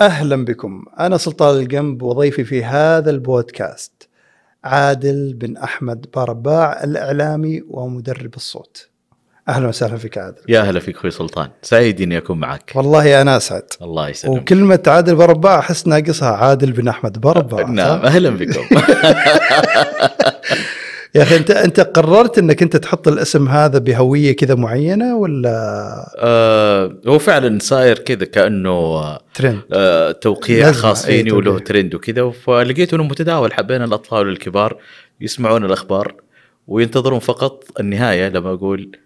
اهلا بكم انا سلطان القنب وضيفي في هذا البودكاست عادل بن احمد بارباع الاعلامي ومدرب الصوت اهلا وسهلا فيك عادل يا هلا فيك اخوي سلطان سعيد اني اكون معك والله انا اسعد الله يسلمك وكلمة عادل برباع احس ناقصها عادل بن احمد برباع نعم اهلا بكم يا اخي انت انت قررت انك انت تحط الاسم هذا بهوية كذا معينة ولا آه، هو فعلا صاير كذا كانه آه، ترند؟ آه، توقيع لازمة، خاص إيه، فيني وله توقيع. ترند وكذا فلقيت انه متداول حبينا الاطفال والكبار يسمعون الاخبار وينتظرون فقط النهايه لما اقول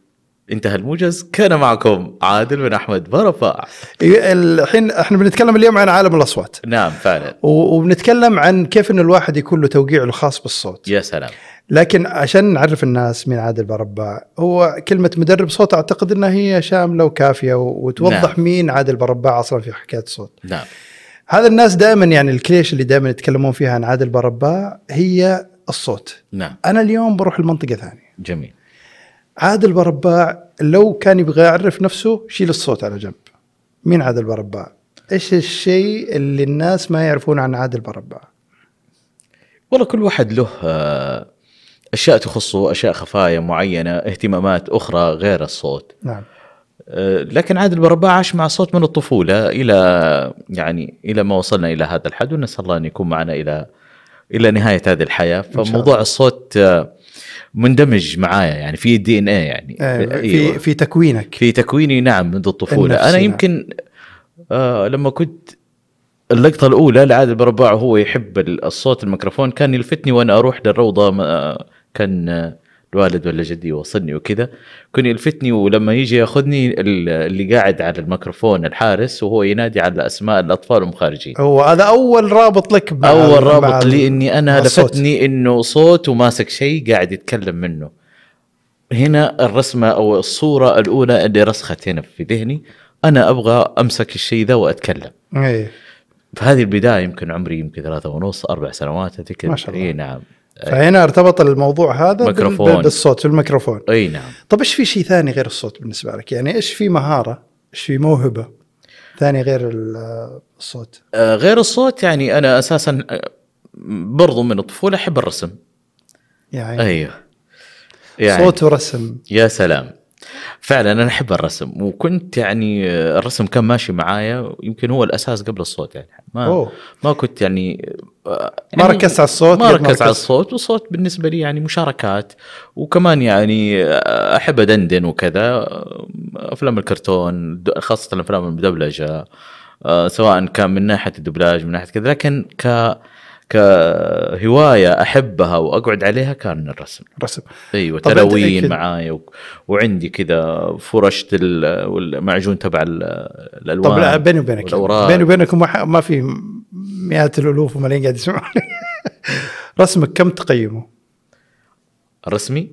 انتهى الموجز كان معكم عادل بن احمد برفع إيه، الحين احنا بنتكلم اليوم عن عالم الاصوات نعم فعلا و- وبنتكلم عن كيف ان الواحد يكون له توقيعه الخاص بالصوت يا سلام لكن عشان نعرف الناس مين عادل برباع هو كلمة مدرب صوت أعتقد أنها هي شاملة وكافية و- وتوضح نعم. مين عادل برباع أصلا في حكاية الصوت نعم هذا الناس دائما يعني الكليش اللي دائما يتكلمون فيها عن عادل برباع هي الصوت نعم أنا اليوم بروح المنطقة ثانية جميل عادل برباع لو كان يبغى يعرف نفسه شيل الصوت على جنب مين عادل برباع ايش الشيء اللي الناس ما يعرفون عن عادل برباع والله كل واحد له آه، اشياء تخصه اشياء خفايا معينه اهتمامات اخرى غير الصوت نعم آه، لكن عادل برباع عاش مع الصوت من الطفوله الى يعني الى ما وصلنا الى هذا الحد ونسال الله ان يكون معنا الى الى نهايه هذه الحياه الله. فموضوع الصوت آه، مندمج معايا يعني في دي ان اي يعني آه، أيوة. في في تكوينك في تكويني نعم منذ الطفوله النفسي، انا نعم. يمكن آه لما كنت اللقطه الاولى لعادل برباع وهو يحب ال- الصوت الميكروفون كان يلفتني وانا اروح للروضه ما كان آه، الوالد ولا جدي يوصلني وكذا كان يلفتني ولما يجي ياخذني ال- اللي قاعد على الميكروفون الحارس وهو ينادي على اسماء الاطفال ومخارجين هو هذا اول رابط لك مع اول مع- رابط لي اني مع انا الصوت. لفتني انه صوت وماسك شيء قاعد يتكلم منه هنا الرسمه او الصوره الاولى اللي رسخت هنا في ذهني انا ابغى امسك الشيء ذا واتكلم ايه في هذه البدايه يمكن عمري يمكن ثلاثة ونص اربع سنوات اتذكر ما شاء الله. اي نعم فهنا ارتبط الموضوع هذا بال- ميكروفون. بال- بالصوت في الميكروفون اي نعم طب ايش في شيء ثاني غير الصوت بالنسبه لك يعني ايش في مهاره ايش في موهبه ثاني غير ال- الصوت آه، غير الصوت يعني انا اساسا آه، برضو من الطفوله احب الرسم يعني, ايوه يعني صوت ورسم يا سلام فعلا انا احب الرسم وكنت يعني آه، الرسم كان ماشي معايا يمكن هو الاساس قبل الصوت يعني ما أوه. ما كنت يعني آه، ما يعني ركزت على الصوت ما قد ما ركزت على ركزت. الصوت والصوت بالنسبه لي يعني مشاركات وكمان يعني آه، احب ادندن وكذا آه، افلام الكرتون د- خاصه الافلام المدبلجه آه، سواء كان من ناحيه الدبلاج من ناحيه كذا لكن ك كهوايه احبها واقعد عليها كان الرسم رسم طيب، ايوه طب أنت- إيه تلوين أكيد. معاي و... وعندي كذا فرشة ال- والمعجون تبع ال- طب الالوان لا بيني وبينك والاوراق بيني وبينك ما- ما في مئات الالوف وملايين قاعد يسمعوني رسمك كم تقيمه؟ الرسمي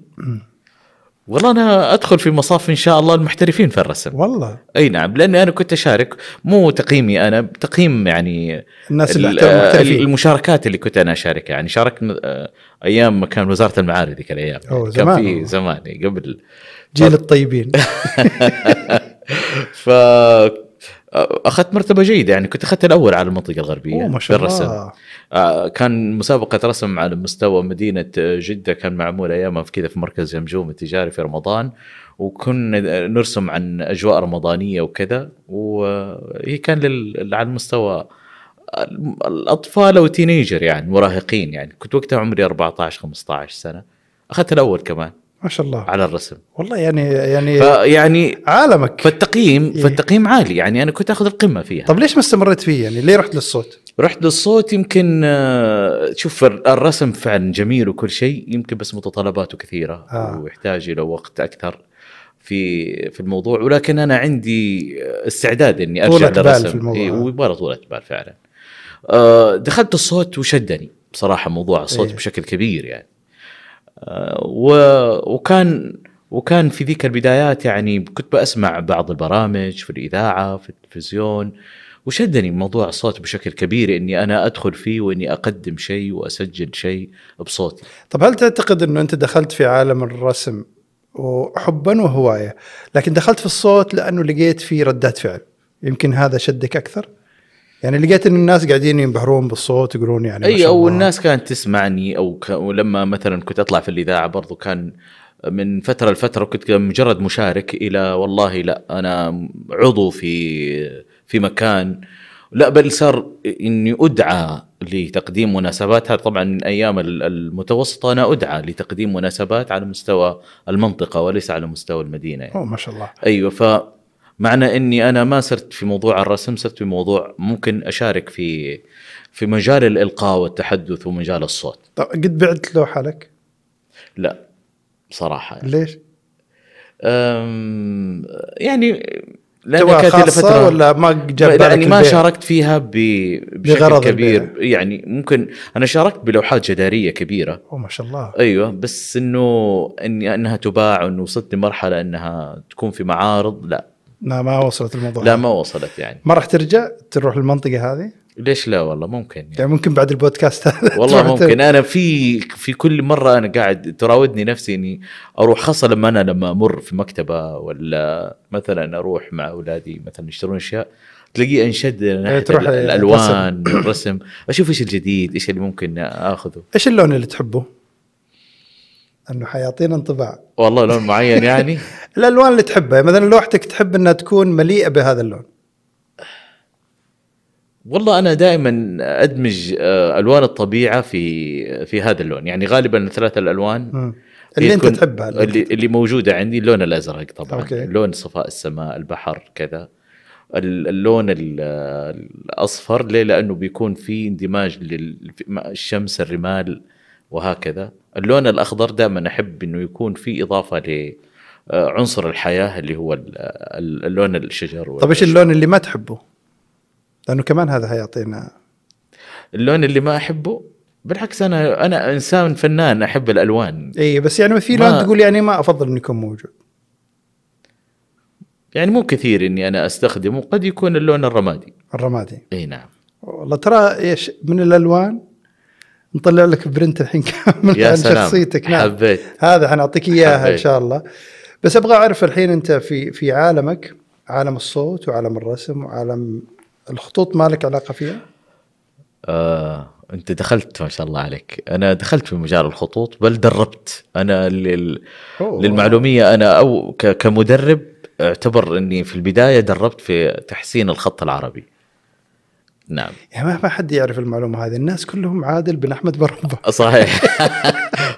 والله انا ادخل في مصاف ان شاء الله المحترفين في الرسم والله اي نعم لاني انا كنت اشارك مو تقييمي انا تقييم يعني الناس ال- اللي احترموا محترفين. المشاركات اللي كنت انا اشاركها يعني شاركت آه، ايام ما كان وزاره المعارف ذيك الايام أوه، كان زمان في والله. زمان إي، قبل جيل الطيبين ف اخذت مرتبه جيده يعني كنت اخذت الاول على المنطقه الغربيه أوه، ما شاء في الرسم الله آه، كان مسابقة رسم على مستوى مدينة آه، جدة كان معمول أيامها في كذا في مركز يمجوم التجاري في رمضان وكنا آه، نرسم عن أجواء رمضانية وكذا وهي كان لل... على المستوى ال- الأطفال أو تينيجر يعني مراهقين يعني كنت وقتها عمري 14 15 سنة أخذت الأول كمان ما شاء الله على الرسم والله يعني يعني فيعني عالمك فالتقييم إيه. فالتقييم عالي يعني أنا كنت أخذ القمة فيها طب ليش ما استمريت فيه يعني ليه رحت للصوت رحت للصوت يمكن آه، شوف ال- الرسم فعلا جميل وكل شيء يمكن بس متطلباته كثيره آه. ويحتاج الى وقت اكثر في في الموضوع ولكن انا عندي استعداد اني ارجع طولة بال يعني للرسم في الموضوع. آه. إيه، ويبغى طولة بال فعلا آه، دخلت الصوت وشدني بصراحه موضوع الصوت إيه. إيه. بشكل كبير يعني آه، و... وكان وكان في ذيك البدايات يعني كنت بسمع بعض البرامج في الاذاعه في التلفزيون وشدني موضوع الصوت بشكل كبير اني انا ادخل فيه واني اقدم شيء واسجل شيء بصوتي طب هل تعتقد انه انت دخلت في عالم الرسم وحبا وهوايه لكن دخلت في الصوت لانه لقيت فيه ردات فعل يمكن هذا شدك اكثر يعني لقيت ان الناس قاعدين ينبهرون بالصوت يقولون يعني ما اي شاء او الله. إيه، الناس كانت تسمعني او ك... ولما مثلا كنت اطلع في الاذاعه برضو كان من فتره لفتره كنت مجرد مشارك الى والله لا انا عضو في في مكان لا بل صار اني ادعى لتقديم مناسبات هذا طبعا من ايام ال- المتوسطه انا ادعى لتقديم مناسبات على مستوى المنطقه وليس على مستوى المدينه يعني. اوه ما شاء الله ايوه ف معنى اني انا ما صرت في موضوع الرسم صرت في موضوع ممكن اشارك في في مجال الالقاء والتحدث ومجال الصوت طب قد بعت لوحه لك لا بصراحه يعني, ليش؟ أم يعني تبغى كانت لي خاصه ولا ما جاب لا، بالك يعني ما البيع؟ شاركت فيها ب... بشكل بغرض كبير يعني ممكن انا شاركت بلوحات جداريه كبيره اوه ما شاء الله ايوه بس انه إني انها تباع وانه وصلت لمرحله انها تكون في معارض لا لا ما وصلت الموضوع لا ما وصلت يعني ما راح ترجع تروح المنطقه هذه؟ ليش لا والله ممكن يعني. يعني ممكن بعد البودكاست هذا والله تروح ممكن انا في في كل مره انا قاعد تراودني نفسي اني اروح خاصه لما انا لما امر في مكتبه ولا مثلا اروح مع اولادي مثلا يشترون اشياء تلاقيه انشد ناحيه إيه، تروح ال- الالوان الرسم اشوف ايش الجديد ايش اللي ممكن اخذه ايش اللون اللي تحبه؟ انه حيعطينا انطباع والله لون معين يعني الالوان اللي تحبها مثلا لوحتك تحب انها تكون مليئه بهذا اللون والله انا دائما ادمج آه، الوان الطبيعه في في هذا اللون يعني غالبا ثلاث الالوان مم. اللي هي انت تكون- تحبها اللي, اللي موجوده عندي اللون الازرق طبعا أوكي. أوكي. لون صفاء السماء البحر كذا ال- اللون ال- الاصفر ليه لانه بيكون في اندماج للشمس الرمال وهكذا اللون الاخضر دائما احب انه يكون في اضافه ل آه، عنصر الحياه اللي هو ال- ال- اللون الشجر طيب ايش اللون اللي ما تحبه؟ لانه كمان هذا حيعطينا اللون اللي ما احبه بالعكس انا انا انسان فنان احب الالوان اي بس يعني في ما- لون تقول يعني ما افضل انه يكون موجود يعني مو كثير اني انا استخدمه قد يكون اللون الرمادي الرمادي اي نعم والله ترى ايش من الالوان نطلع لك برنت الحين كامل يا عن سلام شخصيتك نعم حبيت هذا حنعطيك اياها ان حبيت. شاء الله بس ابغى اعرف الحين انت في في عالمك عالم الصوت وعالم الرسم وعالم الخطوط مالك علاقه فيها؟ آه، انت دخلت ما شاء الله عليك انا دخلت في مجال الخطوط بل دربت انا لل... أوه. للمعلوميه انا او ك... كمدرب اعتبر اني في البدايه دربت في تحسين الخط العربي نعم يعني ما ما حد يعرف المعلومه هذه الناس كلهم عادل بن احمد بربه صحيح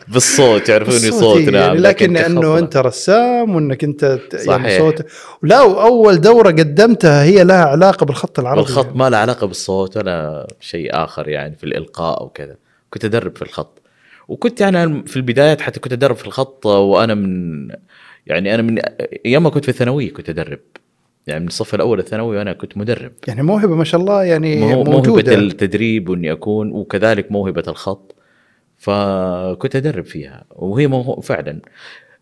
بالصوت يعرفوني بالصوت، صوت إيه، نعم يعني لكن انه كخط، انت رسام وانك انت ت- يعني صحيح. صوت لا واول دوره قدمتها هي لها علاقه بالخط العربي والخط ما له علاقه بالصوت ولا شيء اخر يعني في الالقاء او كذا كنت ادرب في الخط وكنت يعني في البدايات حتى كنت ادرب في الخط وانا من يعني انا من ايام ما كنت في الثانويه كنت ادرب يعني من الصف الاول الثانوي وانا كنت مدرب يعني موهبه ما شاء الله يعني مو- موهبه موجوده التدريب واني اكون وكذلك موهبه الخط فكنت ادرب فيها وهي موهو فعلا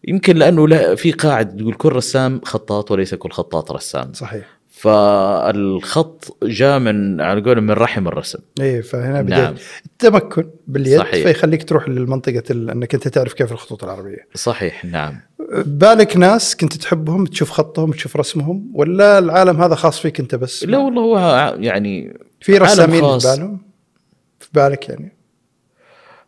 يمكن لانه لا في قاعده تقول كل رسام خطاط وليس كل خطاط رسام صحيح فالخط جاء من على قولهم من رحم الرسم اي فهنا بديت نعم نعم. التمكن باليد صحيح. صحيح. فيخليك تروح للمنطقه ال- انك انت تعرف كيف الخطوط العربيه صحيح نعم بالك ناس كنت تحبهم تشوف خطهم تشوف رسمهم ولا العالم هذا خاص فيك انت بس لا والله هو يعني في عالم رسامين في خاص. بالهم في بالك يعني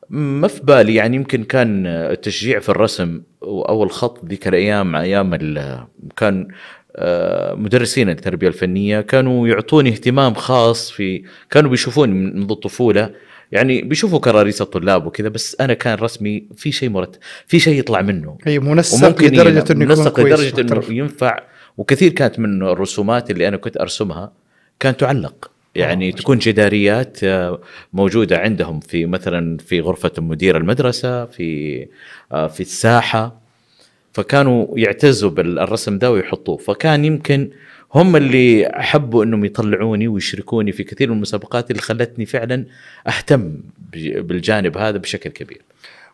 ما في بالي يعني يمكن كان التشجيع في الرسم او الخط ذيك الايام ايام ال- كان آه، مدرسين التربيه الفنيه كانوا يعطوني اهتمام خاص في كانوا بيشوفوني من منذ الطفوله يعني بيشوفوا كراريس الطلاب وكذا بس انا كان رسمي في شيء مرتب في شيء يطلع منه اي منسق وممكن لدرجه انه يكون منسق كويس لدرجه انه محترف. ينفع وكثير كانت من الرسومات اللي انا كنت ارسمها كانت تعلق يعني آه، تكون جداريات آه، موجوده عندهم في مثلا في غرفه مدير المدرسه في آه، في الساحه فكانوا يعتزوا بالرسم ده ويحطوه فكان يمكن هم اللي حبوا انهم يطلعوني ويشركوني في كثير من المسابقات اللي خلتني فعلا اهتم بج- بالجانب هذا بشكل كبير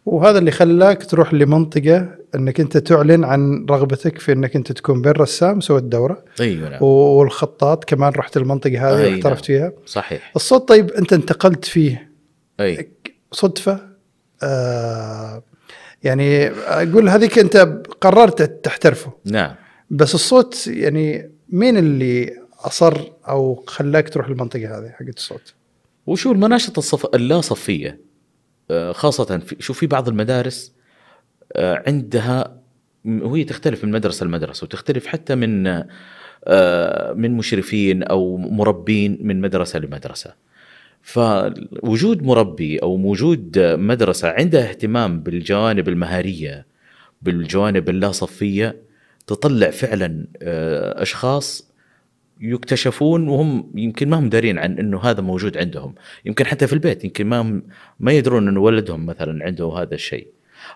وهذا اللي خلاك تروح لمنطقه انك انت تعلن عن رغبتك في انك انت تكون بين رسام سويت دوره ايوه نعم والخطاط كمان رحت المنطقه هذه أي نعم. واحترفت فيها صحيح الصوت طيب انت انتقلت فيه اي صدفه آه يعني اقول هذيك انت قررت تحترفه نعم بس الصوت يعني مين اللي اصر او خلاك تروح المنطقه هذه حقت الصوت؟ وشو المناشط الصف... اللا صفيه آه، خاصه في... شو في بعض المدارس آه، عندها م- وهي تختلف من مدرسه لمدرسه وتختلف حتى من آه، من مشرفين او مربين من مدرسه لمدرسه فوجود مربي او وجود مدرسه عندها اهتمام بالجوانب المهاريه بالجوانب اللا صفيه تطلع فعلا آه، اشخاص يكتشفون وهم يمكن ما هم دارين عن انه هذا موجود عندهم يمكن حتى في البيت يمكن ما هم ما يدرون انه ولدهم مثلا عنده هذا الشيء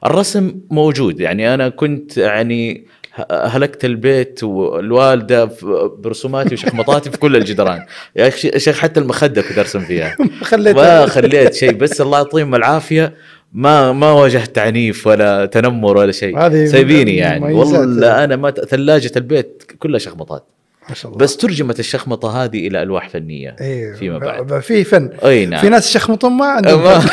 الرسم موجود يعني انا كنت يعني ه- هلكت البيت والوالده في- برسوماتي وشخمطاتي في كل الجدران يا اخي يا شيخ حتى المخده كنت ارسم فيها خليت ما خليت شيء بس الله يعطيهم العافيه ما ما واجهت تعنيف ولا تنمر ولا هذه شيء سايبيني يعني مميزات. والله انا ما ثلاجه البيت كلها شخمطات ما شاء الله بس ترجمت الشخمطه هذه الى الواح فنيه ايوه فيما بعد ب- في فن اي في نعم ناس يشخمطون ما عندهم ما- فن.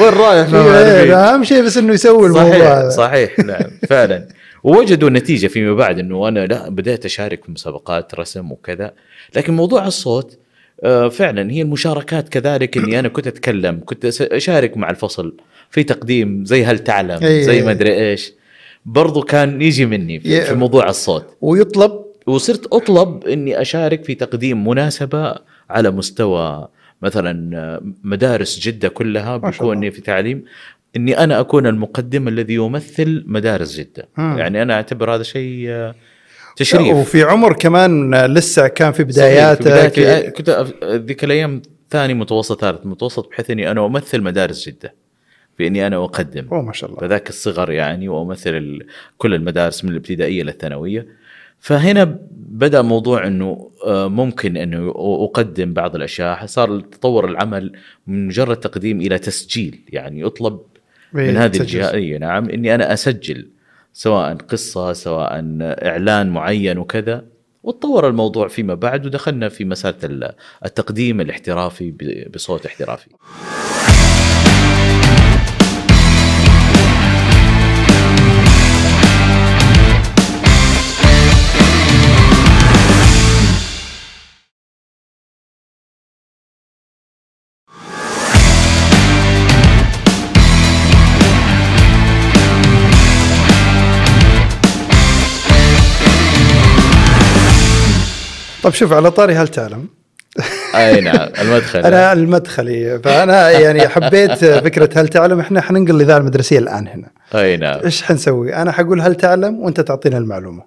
وين رايح ما إيه، عارفين. اهم شيء بس انه يسوي الموضوع صحيح هذا صحيح نعم فعلا ووجدوا نتيجه فيما بعد انه انا لا بدات اشارك في مسابقات رسم وكذا لكن موضوع الصوت آه، فعلا هي المشاركات كذلك اني انا كنت اتكلم كنت أس- اشارك مع الفصل في تقديم زي هل تعلم أي- زي أي. ما ادري ايش برضو كان يجي مني في إيه. يا- في موضوع الصوت ويطلب وصرت اطلب اني اشارك في تقديم مناسبه على مستوى مثلا مدارس جده كلها ما شاء الله. بيكون في تعليم اني انا اكون المقدم الذي يمثل مدارس جده مم. يعني انا اعتبر هذا شيء آه، تشريف وفي عمر كمان لسه كان في صحيح، بداياته في بداياتي، آه، كي- كنت أف- ذيك الايام ثاني متوسط ثالث متوسط بحيث اني انا امثل مدارس جده باني انا اقدم اوه ما شاء الله فذاك الصغر يعني وامثل ال- كل المدارس من الابتدائيه للثانويه فهنا بدا موضوع انه آه، ممكن انه اقدم بعض الاشياء صار تطور العمل من مجرد تقديم الى تسجيل يعني يطلب من هذه تسجل. الجهه أي نعم اني انا اسجل سواء قصه سواء اعلان معين وكذا وتطور الموضوع فيما بعد ودخلنا في مساله ال- التقديم الاحترافي ب- بصوت احترافي طب طيب، شوف على طاري هل تعلم اي نعم المدخل انا المدخلي فانا يعني حبيت فكره هل تعلم احنا حننقل الاذاعه المدرسيه الان هنا اي نعم ايش حنسوي انا حقول هل تعلم وانت تعطينا المعلومه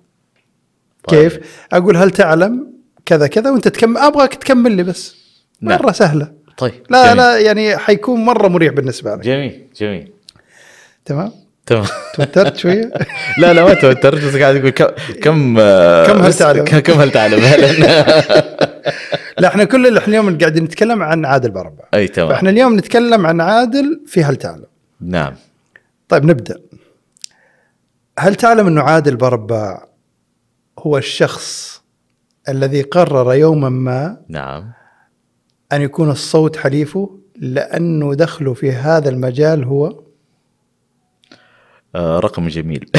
طيب. كيف اقول هل تعلم كذا كذا وانت تكمل ابغاك تكمل لي بس نعم. مره سهله طيب لا جميل. لا يعني حيكون مره مريح بالنسبه لك جميل جميل تمام تمام توترت شويه لا لا ما توترت بس قاعد اقول كم كم آه، كم هل بس- تعلم؟ ك- كم هل تعلم هلا لا احنا كل اللي- احنا اليوم قاعدين نتكلم عن عادل بربع اي تمام فاحنا اليوم نتكلم عن عادل في هل تعلم نعم طيب نبدا هل تعلم انه عادل بربع هو الشخص الذي قرر يوما ما نعم ان يكون الصوت حليفه لانه دخله في هذا المجال هو آه، رقم جميل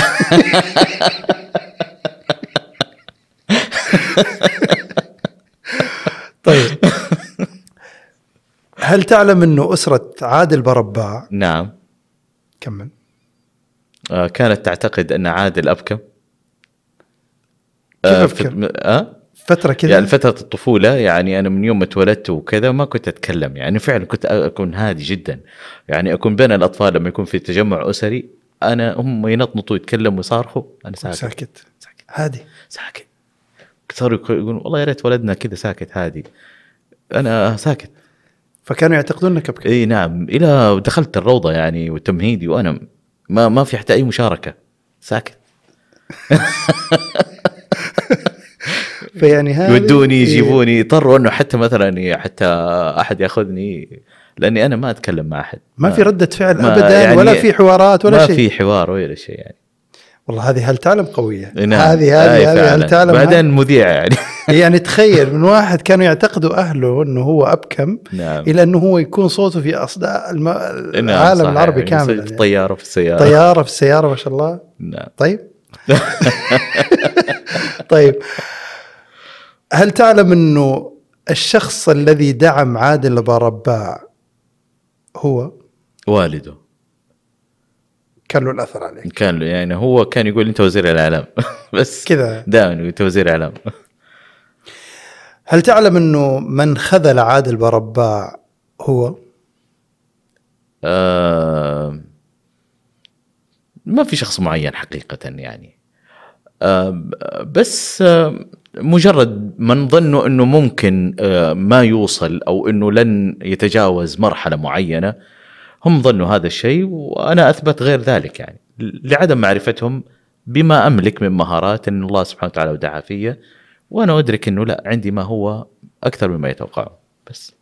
طيب هل تعلم انه اسره عادل بربع نعم كمل آه، كانت تعتقد ان عادل ابكم كيف آه، أبكم؟ في- م- اه فتره كذا يعني فترة الطفولة يعني أنا من يوم ما اتولدت وكذا ما كنت أتكلم يعني فعلا كنت أكون هادي جدا يعني أكون بين الأطفال لما يكون في تجمع أسري أنا هم ينطنطوا يتكلموا ويصارخوا أنا ساكت ساكت هادي ساكت صاروا يقول- يقولون والله يا ريت ولدنا كذا ساكت هادي أنا ساكت فكانوا يعتقدون انك ابكي اي نعم الى دخلت الروضه يعني والتمهيدي وانا ما ما في حتى اي مشاركه ساكت فيعني إيه. هذا إيه. يودوني يجيبوني اضطروا انه حتى مثلا حتى احد ياخذني لاني انا ما اتكلم مع احد ما في رده فعل ما ابدا يعني- ولا في حوارات ولا ما شيء في حوار ولا شيء يعني والله هذه هل تعلم قويه نعم. هذه أي هذه هذه فعلا. هل تعلم بعدين مذيع يعني يعني تخيل من واحد كانوا يعتقدوا اهله انه هو ابكم نعم الى انه هو يكون صوته في اصداء الم... نعم، العالم صحيح. العربي يعني كاملا في نعم. يعني. الطياره في السياره طياره في السياره ما شاء الله نعم طيب طيب هل تعلم انه الشخص الذي دعم عادل ابو رباع هو والده كان له الاثر عليك كان له يعني هو كان يقول انت وزير الاعلام بس كذا دائما يقول انت وزير الاعلام هل تعلم انه من خذل عادل ابو رباع هو آه، ما في شخص معين حقيقة يعني آه، بس آه، مجرد من ظنوا انه ممكن آه، ما يوصل او انه لن يتجاوز مرحلة معينة هم ظنوا هذا الشيء وانا اثبت غير ذلك يعني لعدم معرفتهم بما املك من مهارات ان الله سبحانه وتعالى ودعا فيا وانا ادرك انه لا عندي ما هو اكثر مما يتوقعه بس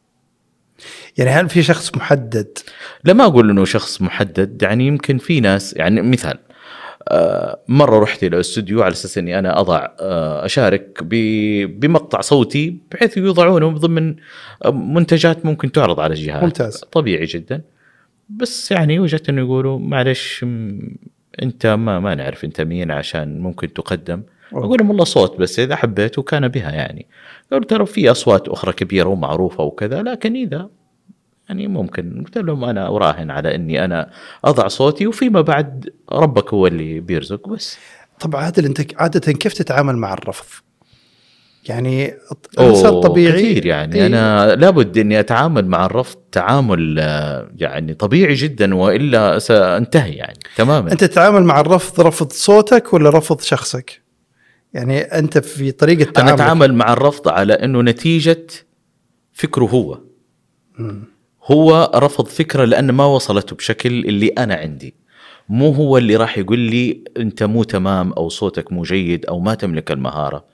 يعني هل في شخص محدد لا ما اقول انه شخص محدد يعني يمكن في ناس يعني مثال آه، مره رحت الى استوديو على اساس اني انا اضع آه، اشارك ب- بمقطع صوتي بحيث يوضعونه ضمن آه، منتجات ممكن تعرض على الجهات ممتاز. طبيعي جدا بس يعني وجدت انه يقولوا معلش م، انت ما ما نعرف انت مين عشان ممكن تقدم أوه. اقول لهم والله صوت بس اذا حبيت وكان بها يعني قالوا ترى في اصوات اخرى كبيره ومعروفه وكذا لكن اذا يعني ممكن قلت لهم انا اراهن على اني انا اضع صوتي وفيما بعد ربك هو اللي بيرزق بس طب عادل انت عاده كيف تتعامل مع الرفض؟ يعني أوه، الانسان طبيعي كثير يعني إيه، انا لابد اني اتعامل مع الرفض تعامل آه، يعني طبيعي جدا والا سانتهي يعني تماما انت تتعامل مع الرفض رفض صوتك ولا رفض شخصك؟ يعني انت في طريقه انا تعاملك اتعامل مع الرفض على انه نتيجه فكره هو مم. هو رفض فكره لانه ما وصلته بشكل اللي انا عندي مو هو اللي راح يقول لي انت مو تمام او صوتك مو جيد او ما تملك المهاره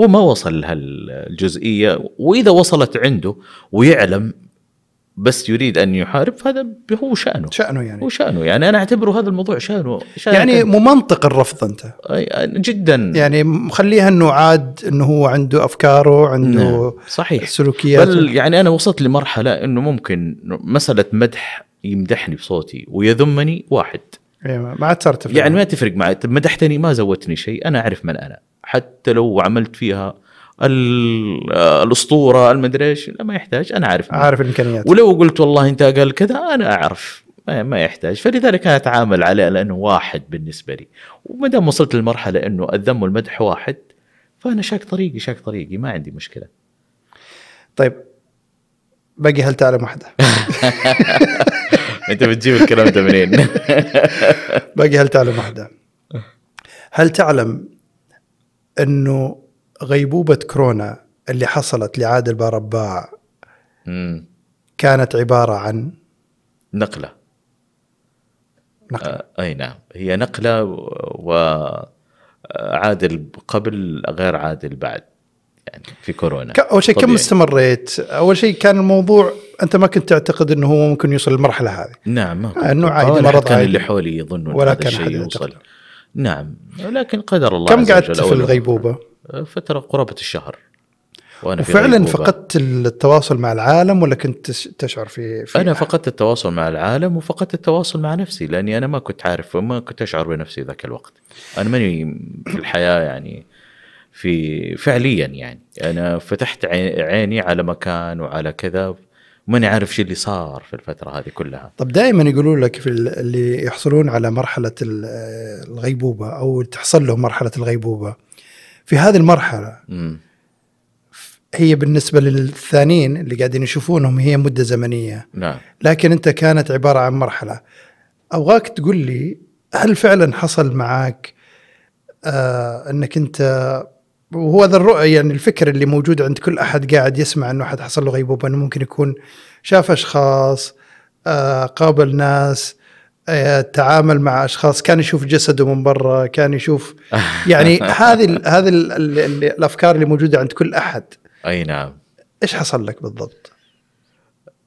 هو ما وصل لهالجزئيه واذا وصلت عنده ويعلم بس يريد ان يحارب فهذا هو شانه شانه يعني هو شانه يعني انا اعتبره هذا الموضوع شانه, شأنه يعني ممنطق الرفض انت أي- جدا يعني مخليها انه عاد انه هو عنده افكاره عنده نعم، صحيح سلوكيات بل يعني انا وصلت لمرحله انه ممكن مساله مدح يمدحني بصوتي ويذمني واحد يعني ما عاد صارت تفرق. يعني ما تفرق معي طب مدحتني ما زودتني شيء انا اعرف من انا حتى لو عملت فيها ال- آه، الاسطوره المدري ايش لا ما يحتاج انا عارف من أنا. عارف الامكانيات ولو قلت والله انت اقل كذا انا اعرف ما ما يحتاج فلذلك انا اتعامل عليه لانه واحد بالنسبه لي وما دام وصلت للمرحله انه الذم والمدح واحد فانا شاك طريقي شاك طريقي ما عندي مشكله طيب باقي هل تعلم واحده انت بتجيب الكلام ده منين؟ باقي هل تعلم واحده هل تعلم انه غيبوبه كورونا اللي حصلت لعادل برباع مم. كانت عباره عن نقله نقل آه، اي نعم هي نقله وعادل قبل غير عادل بعد يعني في كورونا ك- اول شيء كم طبيعي. استمريت؟ اول شيء كان الموضوع انت ما كنت تعتقد انه هو ممكن يوصل للمرحله هذه نعم ما كنت آه، إنه أتوقع عادي، ولا مرض حد كان عادي. اللي حولي يظنوا ولا ولا هذا كان الشيء حد يوصل يعتقد. نعم لكن قدر الله كم عز قعدت وجل في أول مرة. الغيبوبه؟ آه، فتره قرابه الشهر وانا في وفعلا غيبوبة. فقدت التواصل مع العالم ولا كنت تش- تشعر في, في انا فقدت التواصل مع العالم وفقدت التواصل مع نفسي لاني انا ما كنت عارف وما كنت اشعر بنفسي ذاك الوقت انا ماني في الحياه يعني في فعليا يعني انا فتحت عي- عيني على مكان وعلى كذا ماني عارف شو اللي صار في الفتره هذه كلها طب دائما يقولوا لك في ال- اللي يحصلون على مرحله ال- الغيبوبه او تحصل لهم مرحله الغيبوبه في هذه المرحله مم. هي بالنسبه للثانيين اللي قاعدين يشوفونهم هي مده زمنيه نعم لكن انت كانت عباره عن مرحله ابغاك تقول لي هل فعلا حصل معك آه انك انت وهو ذا الرؤى يعني الفكر اللي موجود عند كل احد قاعد يسمع انه احد حصل له غيبوبه انه ممكن يكون شاف اشخاص آه قابل ناس آه تعامل مع اشخاص كان يشوف جسده من برا كان يشوف يعني هذه ال هذه ال ال ال الافكار اللي موجوده عند كل احد اي نعم ايش حصل لك بالضبط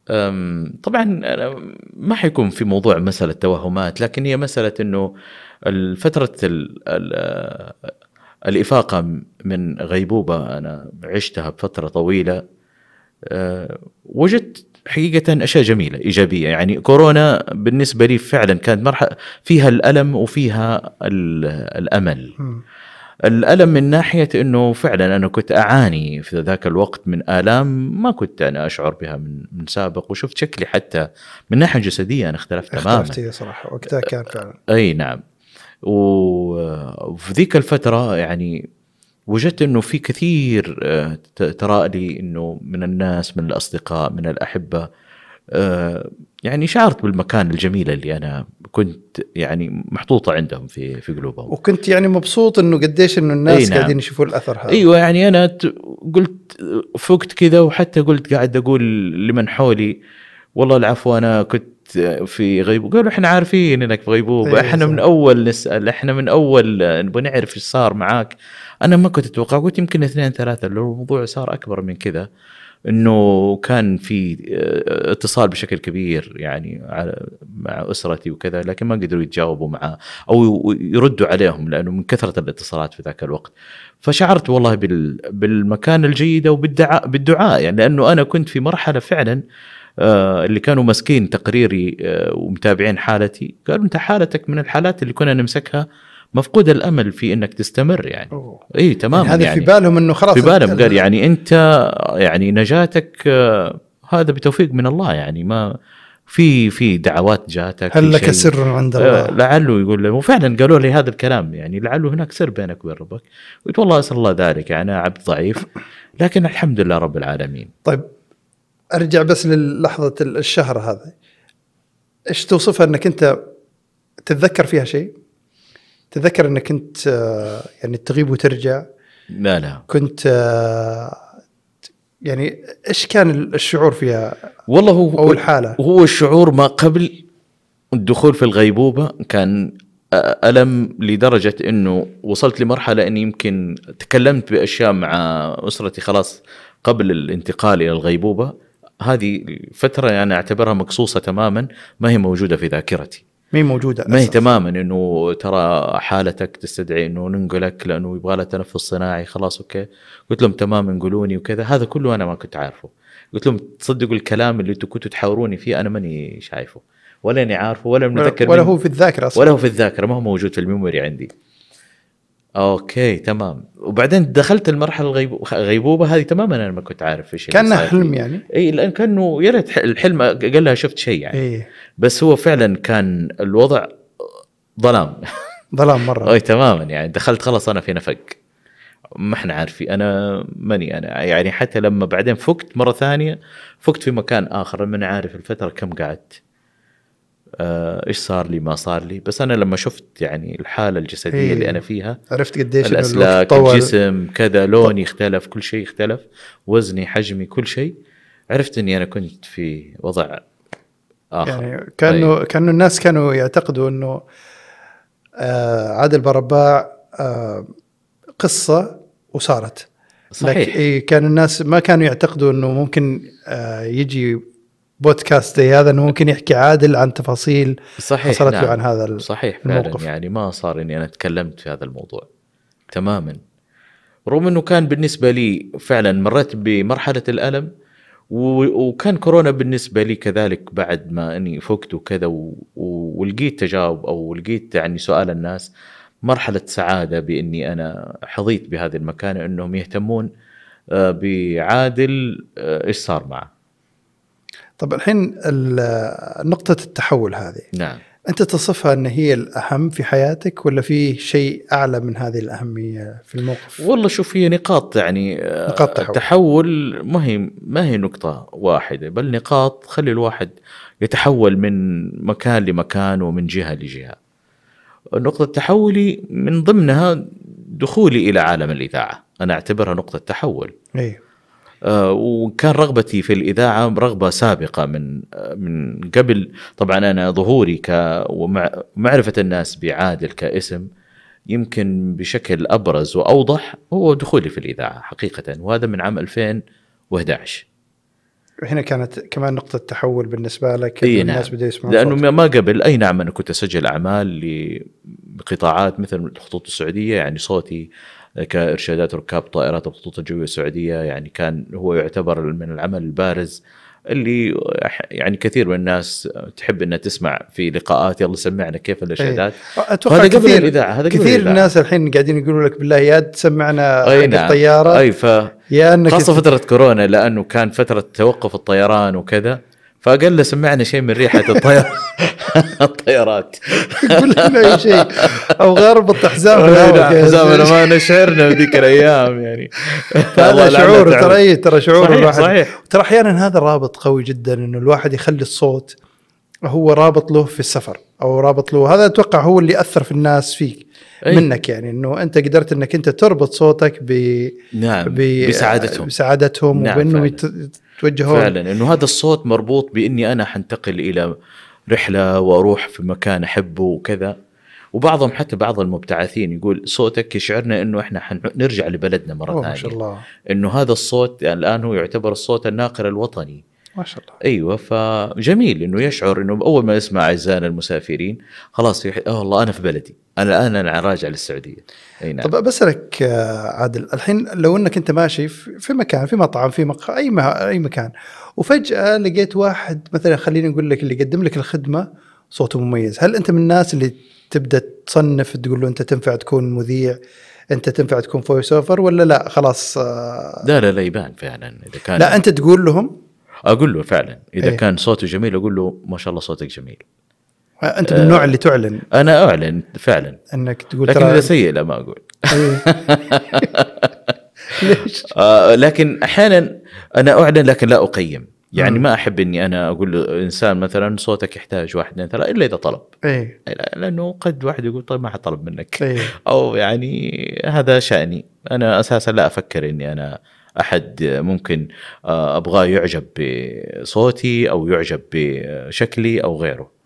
أم، طبعا أنا ما حيكون في موضوع مسألة توهمات لكن هي مسألة أنه فترة ال ال الإفاقة من غيبوبة أنا عشتها بفترة طويلة أه، وجدت حقيقة أشياء جميلة إيجابية يعني كورونا بالنسبة لي فعلا كانت مرحلة فيها الألم وفيها ال- الأمل مم. الالم من ناحيه انه فعلا انا كنت اعاني في ذاك الوقت من الام ما كنت انا اشعر بها من من سابق وشفت شكلي حتى من ناحيه جسديه انا اختلفت تماما اختلفت هي صراحه وقتها كان فعلا اي نعم و- وفي ذيك الفتره يعني وجدت انه في كثير آه، ت- تراءى لي انه من الناس من الاصدقاء من الاحبه آه، يعني شعرت بالمكان الجميل اللي انا كنت يعني محطوطه عندهم في في قلوبهم وكنت يعني مبسوط انه قديش انه الناس أي نعم. قاعدين يشوفوا الاثر هذا ايوه يعني انا ت- قلت فقت كذا وحتى قلت قاعد اقول لمن حولي والله العفو انا كنت في غيبوبه قالوا احنا عارفين انك في غيبوبه أيوة احنا صح. من اول نسال احنا من اول آه، نبغى نعرف ايش صار معاك انا ما كنت اتوقع قلت يمكن اثنين ثلاثه لو الموضوع صار اكبر من كذا انه كان في آه، اتصال بشكل كبير يعني على- مع اسرتي وكذا لكن ما قدروا يتجاوبوا معه او يردوا عليهم لانه من كثره الاتصالات في ذاك الوقت فشعرت والله بال بالمكان الجيده وبالدعاء بالدعاء يعني لانه انا كنت في مرحله فعلا آه، اللي كانوا ماسكين تقريري آه، ومتابعين حالتي قالوا انت حالتك من الحالات اللي كنا نمسكها مفقود الامل في انك تستمر يعني أوه. اي تماما يعني يعني, هذا في بالهم انه خلاص في بالهم ال- قال يعني انت يعني نجاتك آه، هذا بتوفيق من الله يعني ما في في دعوات جاتك في هل لك شيء. سر عند آه، الله لعله يقول له وفعلا قالوا لي هذا الكلام يعني لعله هناك سر بينك وبين ربك قلت والله اسال الله ذلك يعني انا عبد ضعيف لكن الحمد لله رب العالمين طيب ارجع بس للحظه ال- الشهر هذا ايش توصفها انك انت تتذكر فيها شيء تتذكر انك كنت آه، يعني تغيب وترجع لا لا كنت آه، يعني ايش كان ال- الشعور فيها والله هو او الحاله هو الشعور ما قبل الدخول في الغيبوبة كان أ- ألم لدرجة أنه وصلت لمرحلة أني يمكن تكلمت بأشياء مع أسرتي خلاص قبل الانتقال إلى الغيبوبة هذه فترة أنا يعني أعتبرها مقصوصة تماما ما هي موجودة في ذاكرتي ما هي موجوده ما هي أساساً. تماما انه ترى حالتك تستدعي انه ننقلك لانه يبغى لها تنفس صناعي خلاص اوكي قلت لهم تمام انقلوني وكذا هذا كله انا ما كنت عارفه قلت لهم تصدقوا الكلام اللي انتم كنتوا تحاوروني فيه انا ماني شايفه ولا اني عارفه ولا متذكر ولا منه. هو في الذاكره اصلا ولا هو في الذاكره ما هو موجود في الميموري عندي اوكي تمام وبعدين دخلت المرحله الغيبوبه غيبوبة هذه تماما انا ما كنت عارف ايش اللي كانه صاير حلم لي. يعني اي لان كانه يا ريت الحلم قال لها شفت شيء يعني اي بس هو فعلا كان الوضع ظلام ظلام مره اي تماما يعني دخلت خلاص انا في نفق ما احنا عارفين انا ماني انا يعني حتى لما بعدين فقت مره ثانيه فقت في مكان اخر من عارف الفتره كم قعدت آه، ايش صار لي ما صار لي بس انا لما شفت يعني الحاله الجسديه إيه. اللي انا فيها عرفت قديش إنه الوقت الاسلاك طول. الجسم كذا لوني اختلف كل شيء اختلف وزني حجمي كل شيء عرفت اني انا كنت في وضع اخر يعني كانه طيب. كانه الناس كانوا يعتقدوا انه آه عادل برباع آه قصه وصارت لكن صحيح إيه كان الناس ما كانوا يعتقدوا انه ممكن آه يجي بودكاست زي هذا انه ممكن يحكي عادل عن تفاصيل صحيح نعم. حصلت له عن هذا ال- صحيح فعلا الموقف. يعني ما صار اني انا تكلمت في هذا الموضوع تماما رغم انه كان بالنسبه لي فعلا مريت بمرحله الالم و- وكان كورونا بالنسبه لي كذلك بعد ما اني فقت وكذا و- و- ولقيت تجاوب او لقيت يعني سؤال الناس مرحله سعاده باني انا حظيت بهذه المكانه انهم يهتمون آه، بعادل آه، ايش صار معه طب الحين ال- نقطه التحول هذه نعم انت تصفها ان هي الاهم في حياتك ولا في شيء اعلى من هذه الاهميه في الموقف والله شوف هي نقاط يعني آه، نقاط تحول. التحول ما هي ما هي نقطة واحدة بل نقاط خلي الواحد يتحول من مكان لمكان ومن جهة لجهة نقطة تحولي من ضمنها دخولي إلى عالم الإذاعة أنا أعتبرها نقطة تحول اي آه، وكان رغبتي في الإذاعة رغبة سابقة من آه، من قبل طبعا أنا ظهوري ك ومعرفة الناس بعادل كاسم يمكن بشكل أبرز وأوضح هو دخولي في الإذاعة حقيقة وهذا من عام 2011 هنا كانت كمان نقطه تحول بالنسبه لك إي إنه نعم. الناس بدأوا يسمعون لأنه صوتك. ما- ما قبل أي نعم أنا كنت أسجل أعمال لقطاعات مثل الخطوط السعودية يعني صوتي كإرشادات ركاب طائرات الخطوط الجوية السعودية يعني كان هو يعتبر من العمل البارز اللي أح- يعني كثير من الناس تحب انها تسمع في لقاءات يلا سمعنا كيف الارشادات اتوقع هذا قبل إيه. كثير الإذاعة، هذا قبل كثير الإذاعة. الناس الحين قاعدين يقولوا لك بالله يا تسمعنا أي حق نعم. الطياره اي ف يا انك خاصه فتره كورونا لانه كان فتره توقف الطيران وكذا فقال له سمعنا شيء من ريحه الطير الطيارات تقول لنا اي شيء او غرب إيه، الحزام زمان نعم. ما نشعرنا بذيك الايام يعني الله هذا لعنة شعور تعب. ترى إيه، ترى شعور صحيح، الواحد صحيح. ترى احيانا هذا رابط قوي جدا انه الواحد يخلي الصوت هو رابط له في السفر او رابط له هذا اتوقع هو اللي اثر في الناس فيك أي. منك يعني انه انت قدرت انك انت تربط صوتك ب نعم ب- بسعادتهم بسعادتهم نعم، وبانه فعلاً. يت- يتوجهون فعلا انه هذا الصوت مربوط باني انا حنتقل الى رحله واروح في مكان احبه وكذا وبعضهم حتى بعض المبتعثين يقول صوتك يشعرنا انه احنا حنرجع لبلدنا مره أوه، ثانيه ما شاء الله انه هذا الصوت يعني الان هو يعتبر الصوت الناقل الوطني ما شاء الله ايوه فجميل انه يشعر انه اول ما يسمع اعزائنا المسافرين خلاص يح... اه والله انا في بلدي انا الان انا راجع للسعوديه اي نعم طب بسألك آه، عادل الحين لو انك انت ماشي في في مكان في مطعم في مق... اي مه... اي مكان وفجأة لقيت واحد مثلا خليني اقول لك اللي يقدم لك الخدمة صوته مميز، هل انت من الناس اللي تبدا تصنف تقول له انت تنفع تكون مذيع انت تنفع تكون فويس اوفر ولا لا خلاص آه، لا لا لا يبان فعلا اذا كان لا انت تقول لهم اقول له فعلا اذا إيه. أيه. كان صوته جميل اقول له ما شاء الله صوتك جميل آه، انت من النوع اللي تعلن انا اعلن فعلا انك تقول لكن اذا سيء لا ما اقول إيه. ليش؟ آه لكن احيانا انا اعلن لكن لا اقيم يعني ما احب اني انا اقول لانسان مثلا صوتك يحتاج واحد اثنين ثلاثه الا اذا طلب ايه لا- لانه قد واحد يقول طيب ما حطلب منك إيه. او يعني هذا شاني انا اساسا لا افكر اني انا احد ممكن آه، ابغاه يعجب بصوتي او يعجب بشكلي او غيره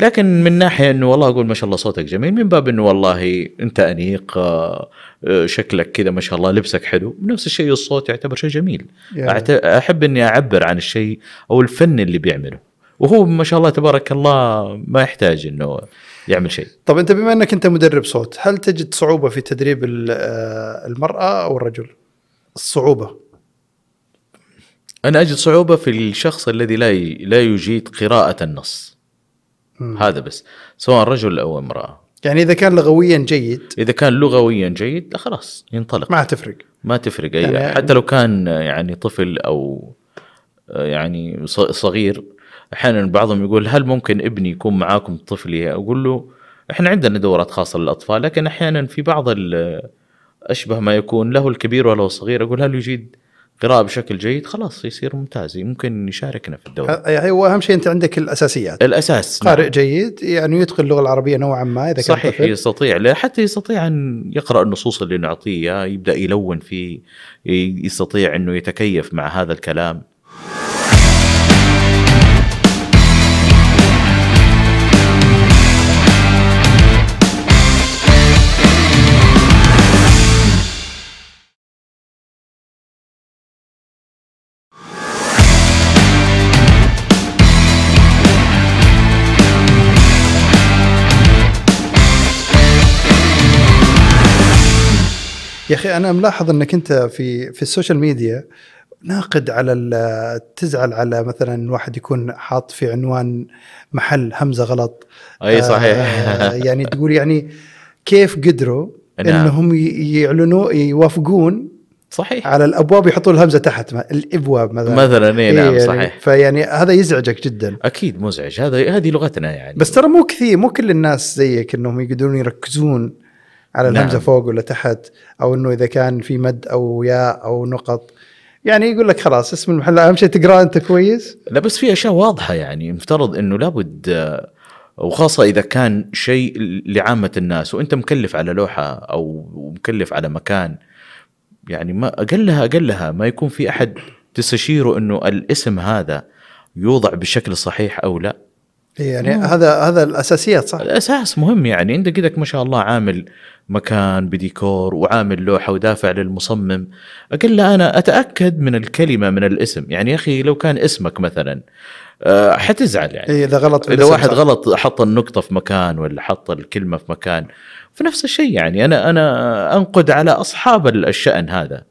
لكن من ناحيه انه والله اقول ما شاء الله صوتك جميل من باب انه والله انت انيق آه، آه، شكلك كذا ما شاء الله لبسك حلو نفس الشيء الصوت يعتبر شيء جميل يعني. أعت- احب اني اعبر عن الشيء او الفن اللي بيعمله وهو ما شاء الله تبارك الله ما يحتاج انه يعمل شيء طب انت بما انك انت مدرب صوت هل تجد صعوبه في تدريب ال- آه، المراه او الرجل الصعوبه انا اجد صعوبه في الشخص الذي لا ي... لا يجيد قراءه النص مم. هذا بس سواء رجل او امراه يعني اذا كان لغويا جيد اذا كان لغويا جيد لا خلاص ينطلق ما تفرق ما تفرق أي يعني- حتى لو كان يعني طفل او آه، يعني ص- صغير احيانا بعضهم يقول هل ممكن ابني يكون معاكم طفلي اقول له احنا عندنا دورات خاصه للاطفال لكن احيانا في بعض ال- اشبه ما يكون له الكبير وله الصغير اقول هل يجيد قراءه بشكل جيد خلاص يصير ممتاز ممكن يشاركنا في الدوره ه- يعني هو اهم شيء انت عندك الاساسيات الاساس نعم. قارئ جيد يعني يتقن اللغه العربيه نوعا ما اذا كان صحيح طفل. يستطيع لا حتى يستطيع ان يقرا النصوص اللي نعطيه إياها، يبدا يلون فيه ي- يستطيع انه يتكيف مع هذا الكلام يا اخي انا ملاحظ انك انت في في السوشيال ميديا ناقد على ال- تزعل على مثلا واحد يكون حاط في عنوان محل همزه غلط اي صحيح آه، يعني تقول يعني كيف قدروا نعم. انهم ي- يعلنوا يوافقون صحيح على الابواب يحطوا الهمزه تحت ما- الابواب مثلا مثلا اي نعم يعني صحيح فيعني هذا يزعجك جدا اكيد مزعج هذا هذه لغتنا يعني بس ترى مو كثير مو كل الناس زيك انهم يقدرون يركزون على نعم. الهمزه فوق ولا تحت او انه اذا كان في مد او ياء او نقط يعني يقول لك خلاص اسم المحل اهم شيء تقراه انت كويس لا بس في اشياء واضحه يعني مفترض انه لابد آه، وخاصه اذا كان شيء لعامه الناس وانت مكلف على لوحه او مكلف على مكان يعني ما اقلها اقلها ما يكون في احد تستشيره انه الاسم هذا يوضع بالشكل الصحيح او لا يعني هذا هذا الاساسيات صح الاساس مهم يعني انت كذا ما شاء الله عامل مكان بديكور وعامل لوحه ودافع للمصمم اقل له انا اتاكد من الكلمه من الاسم يعني يا اخي لو كان اسمك مثلا أه حتزعل يعني إيه، اذا غلط في اذا الاسم واحد صح. غلط حط النقطه في مكان ولا حط الكلمه في مكان فنفس الشيء يعني انا انا انقد على اصحاب الشان هذا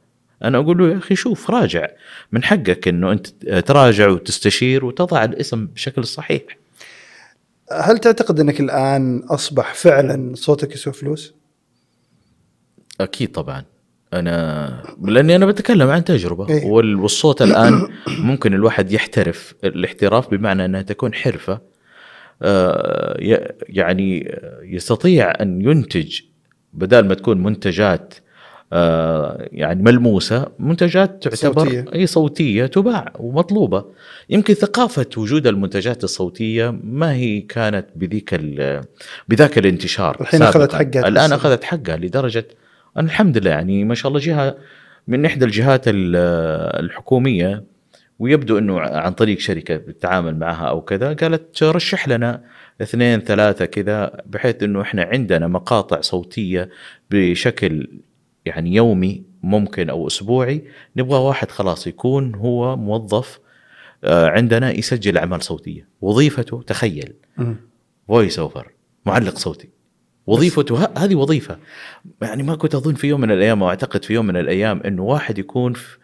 انا اقول له يا اخي شوف راجع من حقك انه انت تراجع وتستشير وتضع الاسم بشكل الصحيح هل تعتقد انك الان اصبح فعلا صوتك يسوى فلوس؟ اكيد طبعا انا لاني انا بتكلم عن تجربه إيه. وال- والصوت الان ممكن الواحد يحترف الاحتراف بمعنى انها تكون حرفه آه، ي- يعني يستطيع ان ينتج بدل ما تكون منتجات آه، يعني ملموسه منتجات تعتبر صوتية. اي صوتيه تباع ومطلوبه يمكن ثقافه وجود المنتجات الصوتيه ما هي كانت بذيك ال- بذاك الانتشار الحين سابقاً. أخذت حقها الان تحسن. اخذت حقها لدرجه أنا الحمد لله يعني ما شاء الله جهه من احدى الجهات ال- الحكوميه ويبدو انه عن طريق شركه بتتعامل معها او كذا قالت رشح لنا اثنين ثلاثه كذا بحيث انه احنا عندنا مقاطع صوتيه بشكل يعني يومي ممكن او اسبوعي نبغى واحد خلاص يكون هو موظف آه، عندنا يسجل اعمال صوتيه وظيفته تخيل فويس اوفر معلق صوتي وظيفته ه- هذه وظيفه يعني ما كنت اظن في يوم من الايام او اعتقد في يوم من الايام انه واحد يكون في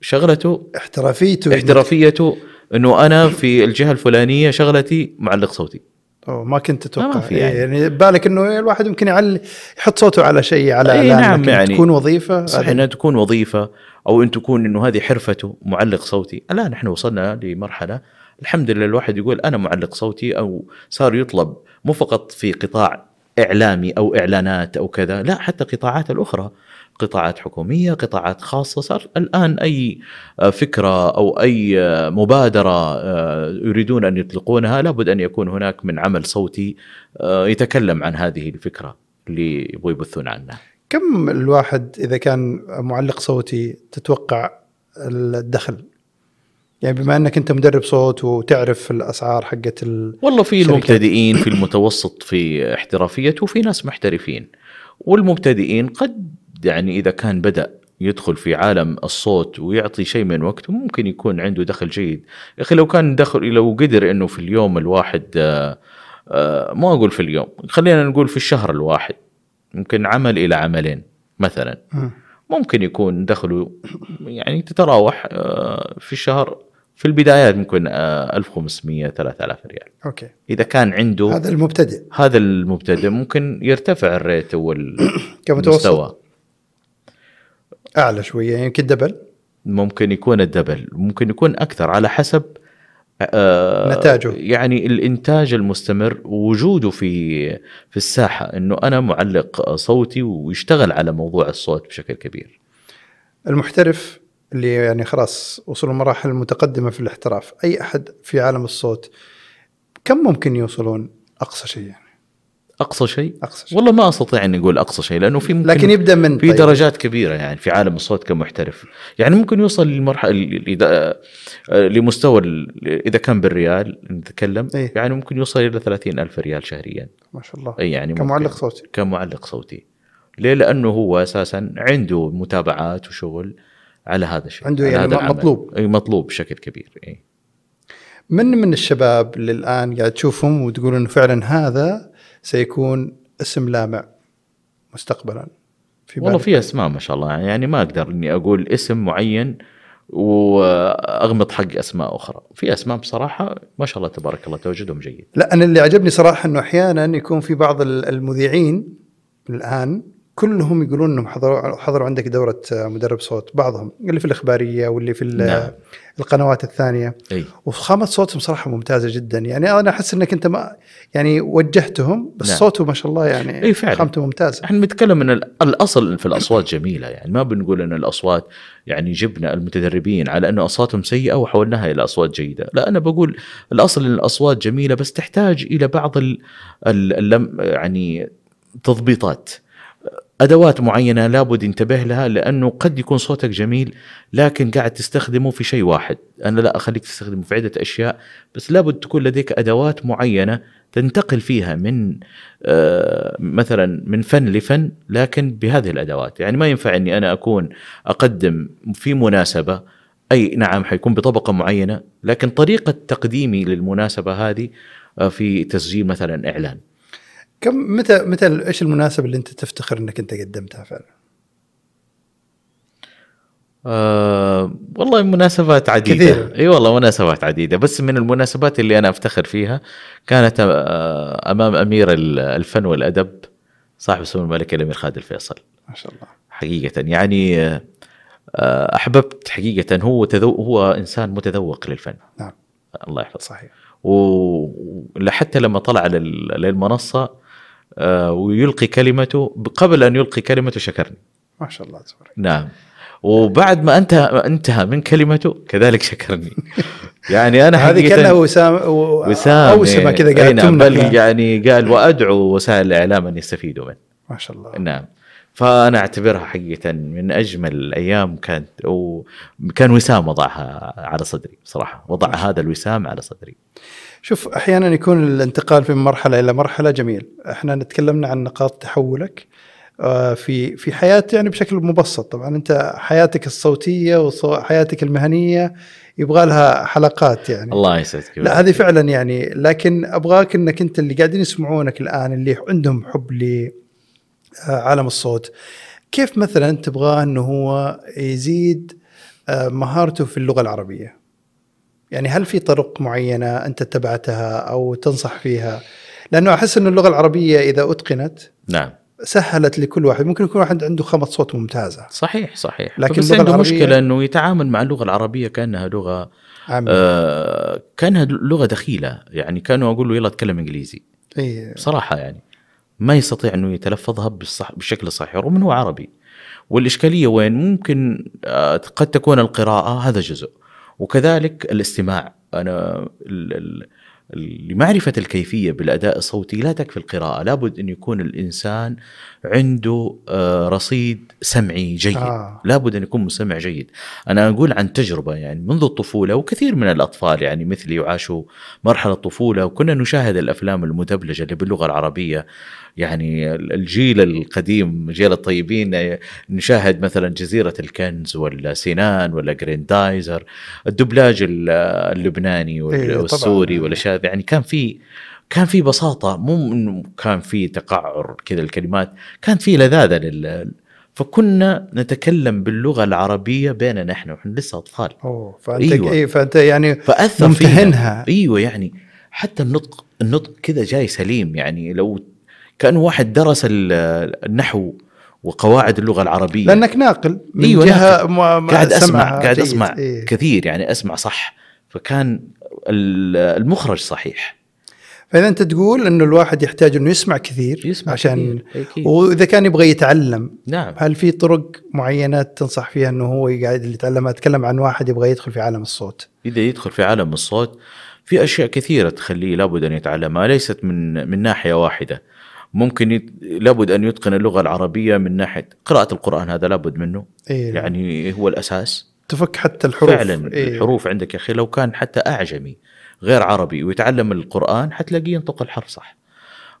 شغلته احترافيته احترافيته انه انا في الجهه الفلانيه شغلتي معلق صوتي أوه ما كنت تتوقع لا، ما في إيه، يعني. يعني بالك انه الواحد يمكن يعلي يحط صوته على شيء على إيه، إعلان، نعم، لكن يعني. تكون وظيفه صحيح هذه- انها تكون وظيفه او ان تكون انه هذه حرفته معلق صوتي الان احنا وصلنا لمرحله الحمد لله الواحد يقول انا معلق صوتي او صار يطلب مو فقط في قطاع اعلامي او اعلانات او كذا لا حتى قطاعات الاخرى قطاعات حكوميه قطاعات خاصه صار الان اي آه، فكره او اي آه، مبادره آه، يريدون ان يطلقونها لابد ان يكون هناك من عمل صوتي آه، يتكلم عن هذه الفكره اللي يبغوا يبثون عنها كم الواحد اذا كان معلق صوتي تتوقع الدخل؟ يعني بما انك انت مدرب صوت وتعرف الاسعار حقت ال... والله في شركات. المبتدئين في المتوسط في احترافية وفي ناس محترفين والمبتدئين قد يعني إذا كان بدأ يدخل في عالم الصوت ويعطي شيء من وقته ممكن يكون عنده دخل جيد يا أخي لو كان دخل لو قدر أنه في اليوم الواحد آه، آه، ما أقول في اليوم خلينا نقول في الشهر الواحد ممكن عمل إلى عملين مثلا مم. ممكن يكون دخله يعني تتراوح آه، في الشهر في البدايات ممكن آه، 1500 3000 ريال اوكي اذا كان عنده هذا, هذا المبتدئ هذا المبتدئ ممكن يرتفع الريت والمستوى كمتوسط اعلى شويه يعني يمكن دبل ممكن يكون الدبل ممكن يكون اكثر على حسب آه، نتاجه. يعني الانتاج المستمر ووجوده في في الساحه انه انا معلق صوتي ويشتغل على موضوع الصوت بشكل كبير المحترف اللي يعني خلاص وصلوا مراحل متقدمه في الاحتراف اي احد في عالم الصوت كم ممكن يوصلون اقصى شيء يعني اقصى شيء اقصى شيء والله ما استطيع ان اقول اقصى شيء لانه في ممكن لكن يبدا من طيب، في درجات كبيره يعني في عالم الصوت كمحترف يعني ممكن يوصل للمرحله ل- ل- لمستوى ال- اذا كان بالريال نتكلم إيه. يعني ممكن يوصل الى 30 الف ريال شهريا ما شاء الله أي يعني ممكن. كمعلق صوتي كمعلق صوتي ليه لانه هو اساسا عنده متابعات وشغل على هذا الشيء عنده على يعني هذا م- العمل. مطلوب. اي مطلوب بشكل كبير اي من من الشباب اللي الان قاعد تشوفهم وتقول انه فعلا هذا سيكون اسم لامع مستقبلا في والله بالك؟ في اسماء ما شاء الله يعني ما اقدر اني اقول اسم معين واغمض حق اسماء اخرى في اسماء بصراحه ما شاء الله تبارك الله تواجدهم جيد لا انا اللي عجبني صراحه انه احيانا يكون في بعض ال- المذيعين الان كلهم يقولون انهم حضروا حضروا عندك دوره آه، مدرب صوت بعضهم اللي في الاخباريه واللي في ال- نعم. القنوات الثانيه اي وفخامه صوتهم صراحه ممتازه جدا يعني انا احس انك انت ما يعني وجهتهم بس نعم. صوته ما شاء الله يعني إي فعلاً. فخامته ممتازه احنا بنتكلم ان ال- الاصل في الاصوات جميله يعني ما بنقول ان الاصوات يعني جبنا المتدربين على انه اصواتهم سيئه وحولناها الى اصوات جيده، لا انا بقول الاصل ان الاصوات جميله بس تحتاج الى بعض ال ال اللم يعني تضبيطات ادوات معينه لابد ينتبه لها لانه قد يكون صوتك جميل لكن قاعد تستخدمه في شيء واحد، انا لا اخليك تستخدمه في عده اشياء بس لابد تكون لديك ادوات معينه تنتقل فيها من آه، مثلا من فن لفن لكن بهذه الادوات، يعني ما ينفع اني انا اكون اقدم في مناسبه اي نعم حيكون بطبقه معينه لكن طريقه تقديمي للمناسبه هذه آه، في تسجيل مثلا اعلان. كم متى متى ايش المناسبه اللي انت تفتخر انك انت قدمتها فعلا آه والله مناسبات عديدة كثير. اي والله مناسبات عديدة بس من المناسبات اللي انا افتخر فيها كانت آه امام امير ال- الفن والادب صاحب سمو الملك الامير خالد الفيصل ما شاء الله حقيقة يعني آه، آه، أحببت حقيقة هو تذو هو إنسان متذوق للفن نعم. الله يحفظه صحيح وحتى لما طلع لل- للمنصة آه، ويلقي كلمته قبل أن يلقي كلمته شكرني ما شاء الله تبارك نعم وبعد ما انتهى انتهى من كلمته كذلك شكرني يعني انا هذه حقيقة- كانها وسام وسام اوسمه كذا إيه قاعد نعم بل تمنى يعني قال وادعو وسائل الاعلام ان يستفيدوا منه ما شاء الله نعم فانا اعتبرها حقيقه من اجمل الايام كانت وكان وسام وضعها على صدري صراحه وضع نعم. هذا الوسام على صدري شوف احيانا يكون الانتقال من مرحله الى مرحله جميل احنا نتكلمنا عن نقاط تحولك آه، في في حياه يعني بشكل مبسط طبعا انت حياتك الصوتيه وحياتك المهنيه يبغى لها حلقات يعني الله يسعدك لا هذه فعلا يعني لكن ابغاك انك انت اللي قاعدين يسمعونك الان اللي عندهم حب لعالم الصوت كيف مثلا تبغاه انه هو يزيد آه، مهارته في اللغه العربيه؟ يعني هل في طرق معينه انت اتبعتها او تنصح فيها؟ لانه احس ان اللغه العربيه اذا اتقنت نعم سهلت لكل واحد ممكن يكون واحد عنده خمط صوت ممتازه صحيح صحيح لكن لكن بس اللغة عنده العربية- نعم. مشكله انه يتعامل مع اللغه العربيه كانها لغه عامه آه كانها لغه دخيله يعني كانوا اقول له يلا اتكلم انجليزي اي بصراحه يعني ما يستطيع انه يتلفظها بالصح بالشكل الصحيح رغم انه عربي والاشكاليه وين ممكن آه، قد تكون القراءه هذا جزء وكذلك الاستماع انا ال- ال- ال- لمعرفه الكيفيه بالاداء الصوتي لا تكفي القراءه لابد ان يكون الانسان عنده آه، رصيد سمعي جيد آه. لابد ان يكون مستمع جيد انا اقول عن تجربه يعني منذ الطفوله وكثير من الاطفال يعني مثلي وعاشوا مرحله الطفوله وكنا نشاهد الافلام المدبلجه اللي باللغه العربيه يعني الجيل القديم جيل الطيبين نشاهد مثلا جزيره الكنز ولا سنان ولا جريندايزر الدبلاج ال- اللبناني إيه، وال- طبعاً. والسوري والاشياء يعني كان في كان في بساطه مو إنه كان في تقعر كذا الكلمات كان في لذاذه لل فكنا نتكلم باللغه العربيه بيننا نحن ونحن لسه اطفال اوه فانت أيوة. أيوة. إيه فانت يعني فاثر فينا. ممتهنها. ايوه يعني حتى النطق النطق كذا جاي سليم يعني لو كان واحد درس ال- النحو وقواعد اللغه العربيه لانك ناقل من أيوة، جهه إيه. ناقل. ما- ما قاعد اسمع سمعها قاعد جيد. اسمع إيه. كثير يعني اسمع صح فكان ال- المخرج صحيح فاذا انت تقول انه الواحد يحتاج انه يسمع كثير يسمع عشان كثير. إيه. أكيد. واذا كان يبغى يتعلم نعم هل في طرق معينه تنصح فيها انه هو قاعد اللي يتعلم اتكلم عن واحد يبغى يدخل في عالم الصوت إذا يدخل في عالم الصوت في أشياء كثيرة تخليه لابد أن يتعلمها ليست من من ناحية واحدة ممكن يت... لابد أن يتقن اللغة العربية من ناحية قراءة القرآن هذا لابد منه إيه. يعني هو الأساس تفك حتى الحروف فعلا إيه؟ الحروف عندك يا أخي لو كان حتى أعجمي غير عربي ويتعلم القرآن حتلاقيه ينطق الحرف صح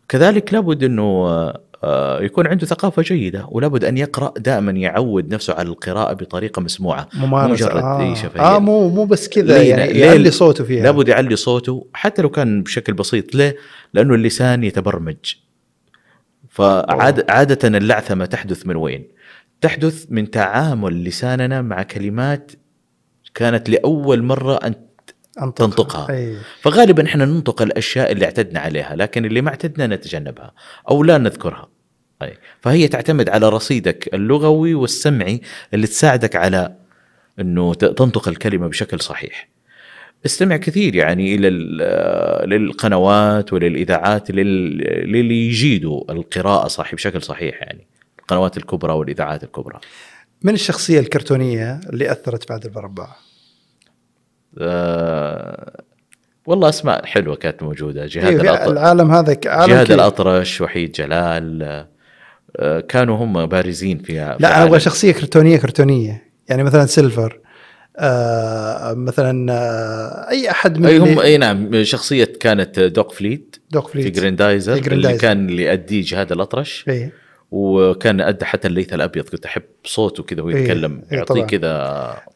كذلك لابد أنه آه، آه، يكون عنده ثقافة جيدة ولابد أن يقرأ دائما يعود نفسه على القراءة بطريقة مسموعة ممارسه مجرد اه, إيه، شفهية. آه مو مو بس كذا ليه؟ يعني ليه؟ يعلي صوته فيها لابد يعلي صوته حتى لو كان بشكل بسيط ليه؟ لانه اللسان يتبرمج فعادة اللعثمة تحدث من وين؟ تحدث من تعامل لساننا مع كلمات كانت لأول مرة أن أنطقها. تنطقها. إيه. فغالبا احنا ننطق الأشياء اللي اعتدنا عليها لكن اللي ما اعتدنا نتجنبها أو لا نذكرها أي. فهي تعتمد على رصيدك اللغوي والسمعي اللي تساعدك على أنه ت- تنطق الكلمة بشكل صحيح استمع كثير يعني الى ال- للقنوات وللاذاعات لل- للي يجيدوا القراءه صح بشكل صحيح يعني القنوات الكبرى والاذاعات الكبرى من الشخصيه الكرتونيه اللي اثرت بعد البربع أه والله اسماء حلوه كانت موجوده جهاد إيه في الأطر... العالم هذا ك- عالم جهاد كبير. الاطرش وحيد جلال أه كانوا هم بارزين في في لا انا عالم. ابغى شخصيه كرتونيه كرتونيه يعني مثلا سيلفر آه مثلا آه اي احد من اي هم اللي- اي نعم شخصيه كانت دوك فليت دوك في فريد جريندايزر, في اللي جريندايزر. إيه. كان اللي يأديه جهاد الاطرش اي وكان ادى حتى الليث الابيض كنت احب صوته كذا وهو إيه، يتكلم إيه يعطيه طبعاً. إيه، كذا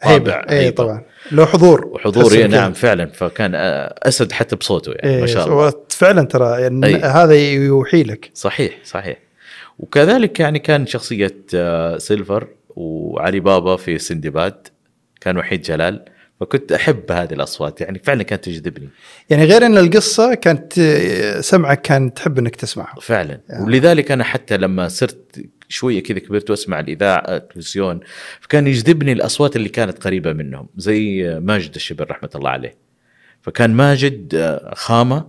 هيبه طابع اي هيبة. طبعا لو حضور وحضور تحس إيه إنه نعم كذا. فعلا فكان آه، اسد حتى بصوته يعني إيه ما شاء الله هو فعلا ترى يعني إيه. هذا يوحي لك صحيح صحيح وكذلك يعني كان شخصيه آه، سيلفر وعلي بابا في سندباد كان وحيد جلال فكنت احب هذه الاصوات يعني فعلا كانت تجذبني يعني غير ان القصه كانت آه، سمعك كان تحب انك تسمعها فعلا آه. ولذلك انا حتى لما صرت شويه كذا كبرت واسمع الاذاعه التلفزيون فكان يجذبني الاصوات اللي كانت قريبه منهم زي آه، ماجد الشبر رحمه الله عليه فكان ماجد آه، خامه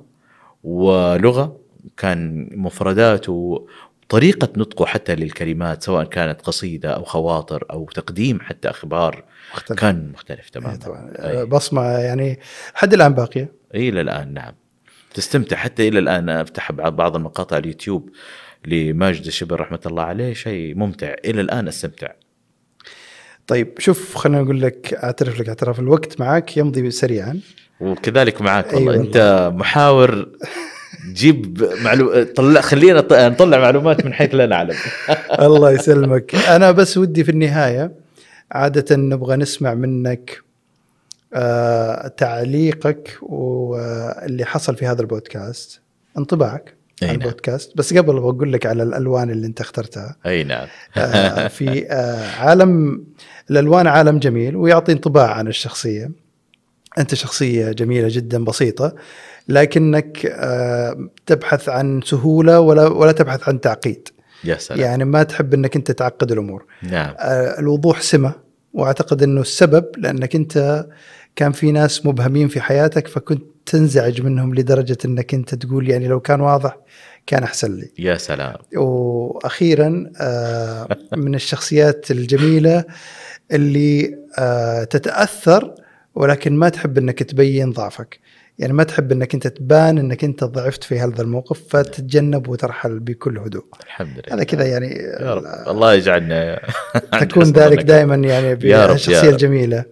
ولغه كان مفردات وطريقه نطقه حتى للكلمات سواء كانت قصيده او خواطر او تقديم حتى اخبار مختلف. كان مختلف إيه تماما طبعا أي. بصمه يعني لحد الان باقيه الى الان نعم تستمتع حتى الى الان أنا افتح بعض بعض المقاطع اليوتيوب لماجد الشبر رحمه الله عليه شيء ممتع الى الان استمتع طيب شوف خلينا نقول لك اعترف لك اعتراف الوقت معك يمضي سريعا وكذلك معاك والله أيوة أيوة انت محاور جيب معلو... طلع خلينا ط- نطلع معلومات من حيث لا نعلم الله يسلمك انا بس ودي في النهايه عاده نبغى نسمع منك آه تعليقك واللي حصل في هذا البودكاست انطباعك أي عن نعم. البودكاست بس قبل بقول لك على الالوان اللي انت اخترتها اي نعم آه، في آه، عالم الالوان عالم جميل ويعطي انطباع عن الشخصيه انت شخصيه جميله جدا بسيطه لكنك آه، تبحث عن سهوله ولا ولا تبحث عن تعقيد يا سلام يعني ما تحب انك انت تعقد الامور نعم آه، الوضوح سمه واعتقد انه السبب لانك انت كان في ناس مبهمين في حياتك فكنت تنزعج منهم لدرجه انك انت تقول يعني لو كان واضح كان احسن لي يا سلام واخيرا آه، من الشخصيات الجميله اللي آه، تتاثر ولكن ما تحب انك تبين ضعفك يعني ما تحب انك انت تبان انك انت ضعفت في هذا الموقف فتتجنب وترحل بكل هدوء الحمد لله هذا كذا يعني يا رب الله يجعلنا عند تكون حسن ذلك ظنك. دائما يعني يا رب، يا بالشخصيه رب. الجميله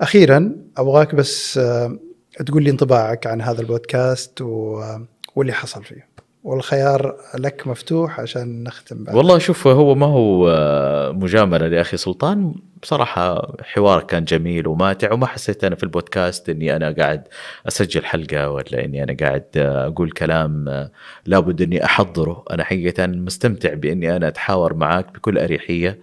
اخيرا ابغاك بس آه، تقول لي انطباعك عن هذا البودكاست و... آه، واللي حصل فيه والخيار لك مفتوح عشان نختم بعد والله شوف هو ما هو آه، مجامله لاخي سلطان بصراحه حوار كان جميل وماتع وما حسيت انا في البودكاست اني انا قاعد اسجل حلقه ولا اني انا قاعد آه، اقول كلام آه، لابد اني احضره انا حقيقه مستمتع باني انا اتحاور معاك بكل اريحيه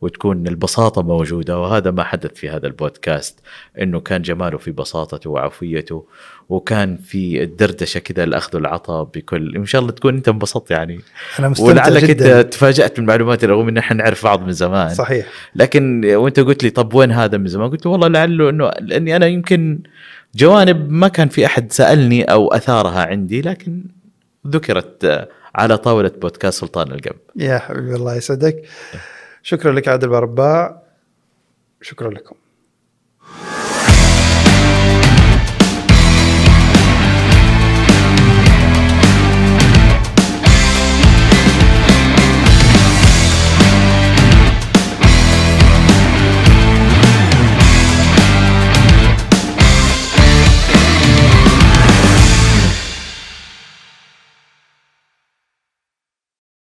وتكون البساطة موجودة وهذا ما حدث في هذا البودكاست انه كان جماله في بساطته وعفويته وكان في الدردشة كذا الاخذ والعطاء بكل ان شاء الله تكون انت انبسطت يعني انا مستمتع ولعلك جدا انت تفاجات بالمعلومات رغم ان احنا نعرف بعض من زمان صح. صحيح لكن وانت قلت لي طب وين هذا من زمان قلت والله لعله انه لاني انا يمكن جوانب ما كان في احد سالني او اثارها عندي لكن ذكرت آه، على طاوله بودكاست سلطان القب يا حبيبي الله يسعدك شكرا لك عادل برباع شكرا لكم